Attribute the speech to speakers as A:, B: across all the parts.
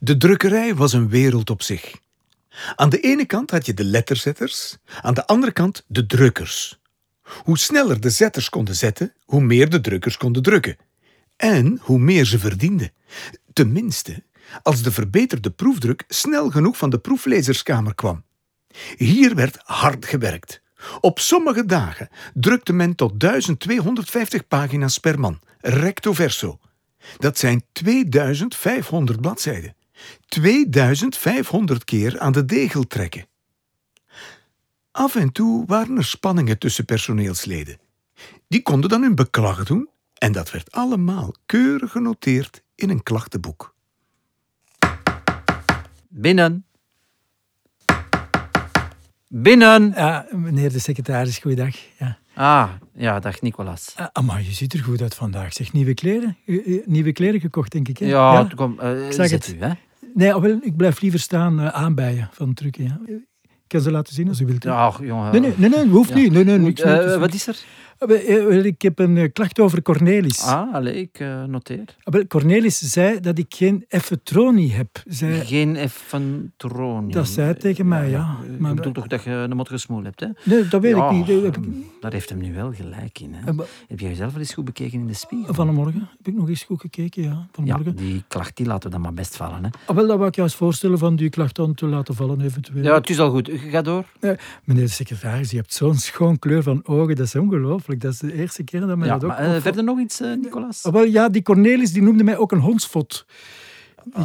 A: De drukkerij was een wereld op zich. Aan de ene kant had je de letterzetters, aan de andere kant de drukkers. Hoe sneller de zetters konden zetten, hoe meer de drukkers konden drukken. En hoe meer ze verdienden. Tenminste, als de verbeterde proefdruk snel genoeg van de proeflezerskamer kwam. Hier werd hard gewerkt. Op sommige dagen drukte men tot 1250 pagina's per man, recto verso. Dat zijn 2500 bladzijden. 2500 keer aan de degel trekken. Af en toe waren er spanningen tussen personeelsleden. Die konden dan hun beklag doen en dat werd allemaal keurig genoteerd in een klachtenboek.
B: Binnen. Binnen.
C: Ja, meneer de secretaris, goeiedag. Ja.
B: Ah, ja, dag Nicolas.
C: Ah, maar je ziet er goed uit vandaag. Zeg, nieuwe kleren? U- u- Nieuwe kleren gekocht, denk ik. Hè?
B: Ja, kom, eh,
C: zag
B: zet
C: het.
B: u, hè.
C: Nee, ah, wel, ik blijf liever staan eh, aanbijen van de trucken. Ja. Ik kan ze laten zien als u wilt. hè.
B: Ja, ach, jongen.
C: Nee, nee, nee, nee, hoeft
B: Ja.
C: niet. Nee, nee, niks,
B: Eh,
C: niks, niks.
B: wat is er?
C: Ah, wel, eh, wel, Ik heb een eh, klacht over Cornelis.
B: Ah, allee, ik eh, noteer.
C: Ah, wel, Cornelis zei dat ik geen effetronie heb. Zei,
B: Geen effantronium.
C: Dat zei hij tegen mij, ja. Maar-
B: Maar ik bedoel toch dat je een mot gesmoel hebt, hè?
C: nee, dat weet
B: Ja,
C: ik niet. Eh, Dat heb ik-
B: Daar heeft hem nu wel gelijk in, hè.
C: Eh, maar-
B: Heb jij jezelf wel eens goed bekeken in de
C: Oh,
B: spiegel?
C: Vanmorgen heb ik nog eens goed gekeken, ja.
B: ja,
C: Vanmorgen.
B: die klacht die laten we dan maar best vallen, hè.
C: Ah, wel, dat wou ik juist voorstellen van die klacht dan te laten vallen eventueel.
B: Ja, het is al goed. Ga door.
C: Eh, meneer de secretaris, je hebt zo'n schoon kleur van ogen. Dat is ongelooflijk. Dat is de eerste keer dat mij
B: ja,
C: dat ook
B: maar, eh,
C: opvalt.
B: verder nog iets, eh, Nicolas?
C: Ah, wel, ja, die Cornelis die noemde mij ook een hondsvot.
B: Ah,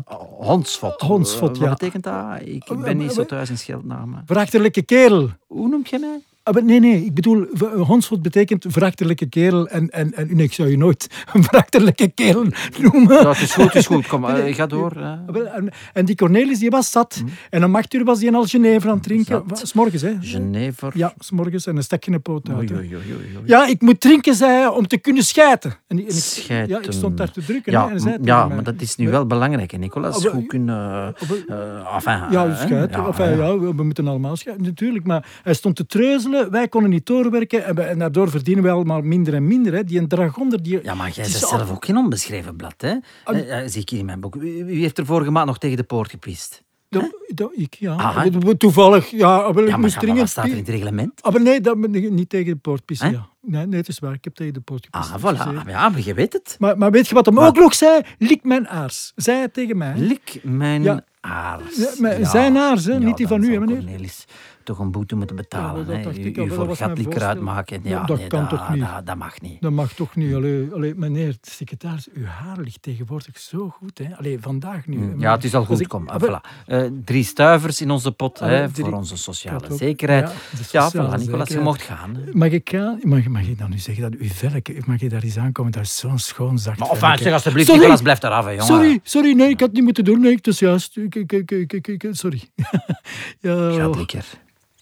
C: Ah,
B: Hondsvot.
C: Hondsvot,
B: Eh,
C: ja.
B: Wat betekent dat? Ik
C: Eh,
B: ben
C: eh,
B: niet zo
C: eh,
B: thuis in scheldnamen.
C: Verachterlijke kerel.
B: Hoe noemt jij mij?
C: Ah, wel, nee, nee, ik bedoel, v- hondsvot betekent verachterlijke kerel. En, en, en nee, ik zou je nooit een verachterlijke kerel noemen.
B: Ja, het is goed, het is goed. Kom, eh, ga door. eh.
C: Ah, wel, En, en die Cornelis die was zat. En om acht uur was hij in al Geneve aan het drinken.
B: Hmm. Zat.
C: Wa- S'morgens, hè?
B: Genever.
C: Ja, s'morgens. En een stekje een poot uit.
B: Oei,
C: hè.
B: oei, oei, oei, oei.
C: Ja, ik moet drinken, zei hij, om te kunnen schijten. En, ik- en ik,
B: Schijten.
C: Ja, ik stond daar te drukken. hè,
B: Ja,
C: en hij zei
B: m-
C: tegen
B: ja,
C: mij.
B: maar dat is nu wel belangrijk, hè, Nicolas.
C: Ah, wel,
B: Goed kunnen...
C: Ah, wel,
B: eh, enfin,
C: Ja,
B: eh,
C: dus schijten.
B: ja,
C: Enfin,
B: ja.
C: ja, we, we moeten allemaal schijten, natuurlijk. Maar hij stond te treuzelen, wij konden niet doorwerken. En, wij- en daardoor verdienen wij allemaal minder en minder. Hè. Die een dragonder, die...
B: Ja, maar jij
C: Het
B: bent
C: is
B: zelf ook geen onbeschreven blad, hè?
C: Ah,
B: Eh, eh, zie ik hier in mijn boek. Wie wie heeft er vorige maand nog tegen de poort gepiest?
C: Dat, dat- ik, ja.
B: Ah,
C: Dat- dat- Toevallig, ja. ah, Wel,
B: Ja, maar,
C: ik moest
B: ja, maar wat
C: dringend...
B: staat er in het reglement?
C: Ah, maar nee, dat, niet tegen de poort pissen,
B: Hè?
C: ja. Nee, nee, het is waar. Ik heb tegen de poort gepissen.
B: Ah, voilà.
C: excuseer.
B: Ja, maar je weet het.
C: Maar, maar weet je wat hem
B: Maar-
C: ook nog zei? Lik mijn aars. Zei hij tegen mij.
B: Lik mijn
C: Ja.
B: aars.
C: Ja, maar zijn aars, hè, niet die van
B: dan
C: u, hè,
B: zou
C: meneer?
B: Cornelis toch een boete moeten betalen.
C: Ja, dat
B: hè.
C: dacht
B: U,
C: ik al,
B: u
C: dat
B: voor
C: was
B: gat
C: mijn
B: likker
C: voorstel.
B: uitmaken. Ja,
C: Ja, dat
B: nee,
C: kan toch niet?
B: Dat, dat mag niet.
C: Dat mag toch niet. Allee, allee, meneer de secretaris, uw haar ligt tegenwoordig zo goed. Hè? Allee, vandaag nu.
B: Mm. Ja, het is al
C: Mm. Als
B: goed,
C: ik-
B: kom.
C: Ah,
B: Ah,
C: wel,
B: voilà. Eh, drie stuivers in onze pot
C: Ah,
B: hè,
C: drie-
B: voor onze sociale
C: dat ook.
B: zekerheid.
C: Ja, de
B: Ja,
C: sociale
B: voilà, Nicolas, je
C: zekerheid.
B: mocht gaan. hè.
C: Mag ik, gaan? mag, mag ik dan nu zeggen dat uw velk, mag je daar eens aankomen? Dat is zo'n schoon zacht
B: Maar
C: velk,
B: enfin,
C: hè.
B: zeg alsjeblieft,
C: Sorry.
B: Nicolas, blijf daar af, hè, jongen.
C: Sorry, sorry, nee, ik had het niet moeten doen. Nee, het is juist. Ik, ik, ik, ik, ik- ik- sorry. ja,
B: Gat
C: oh.
B: likker.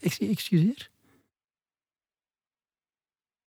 C: Ex- Excuseer?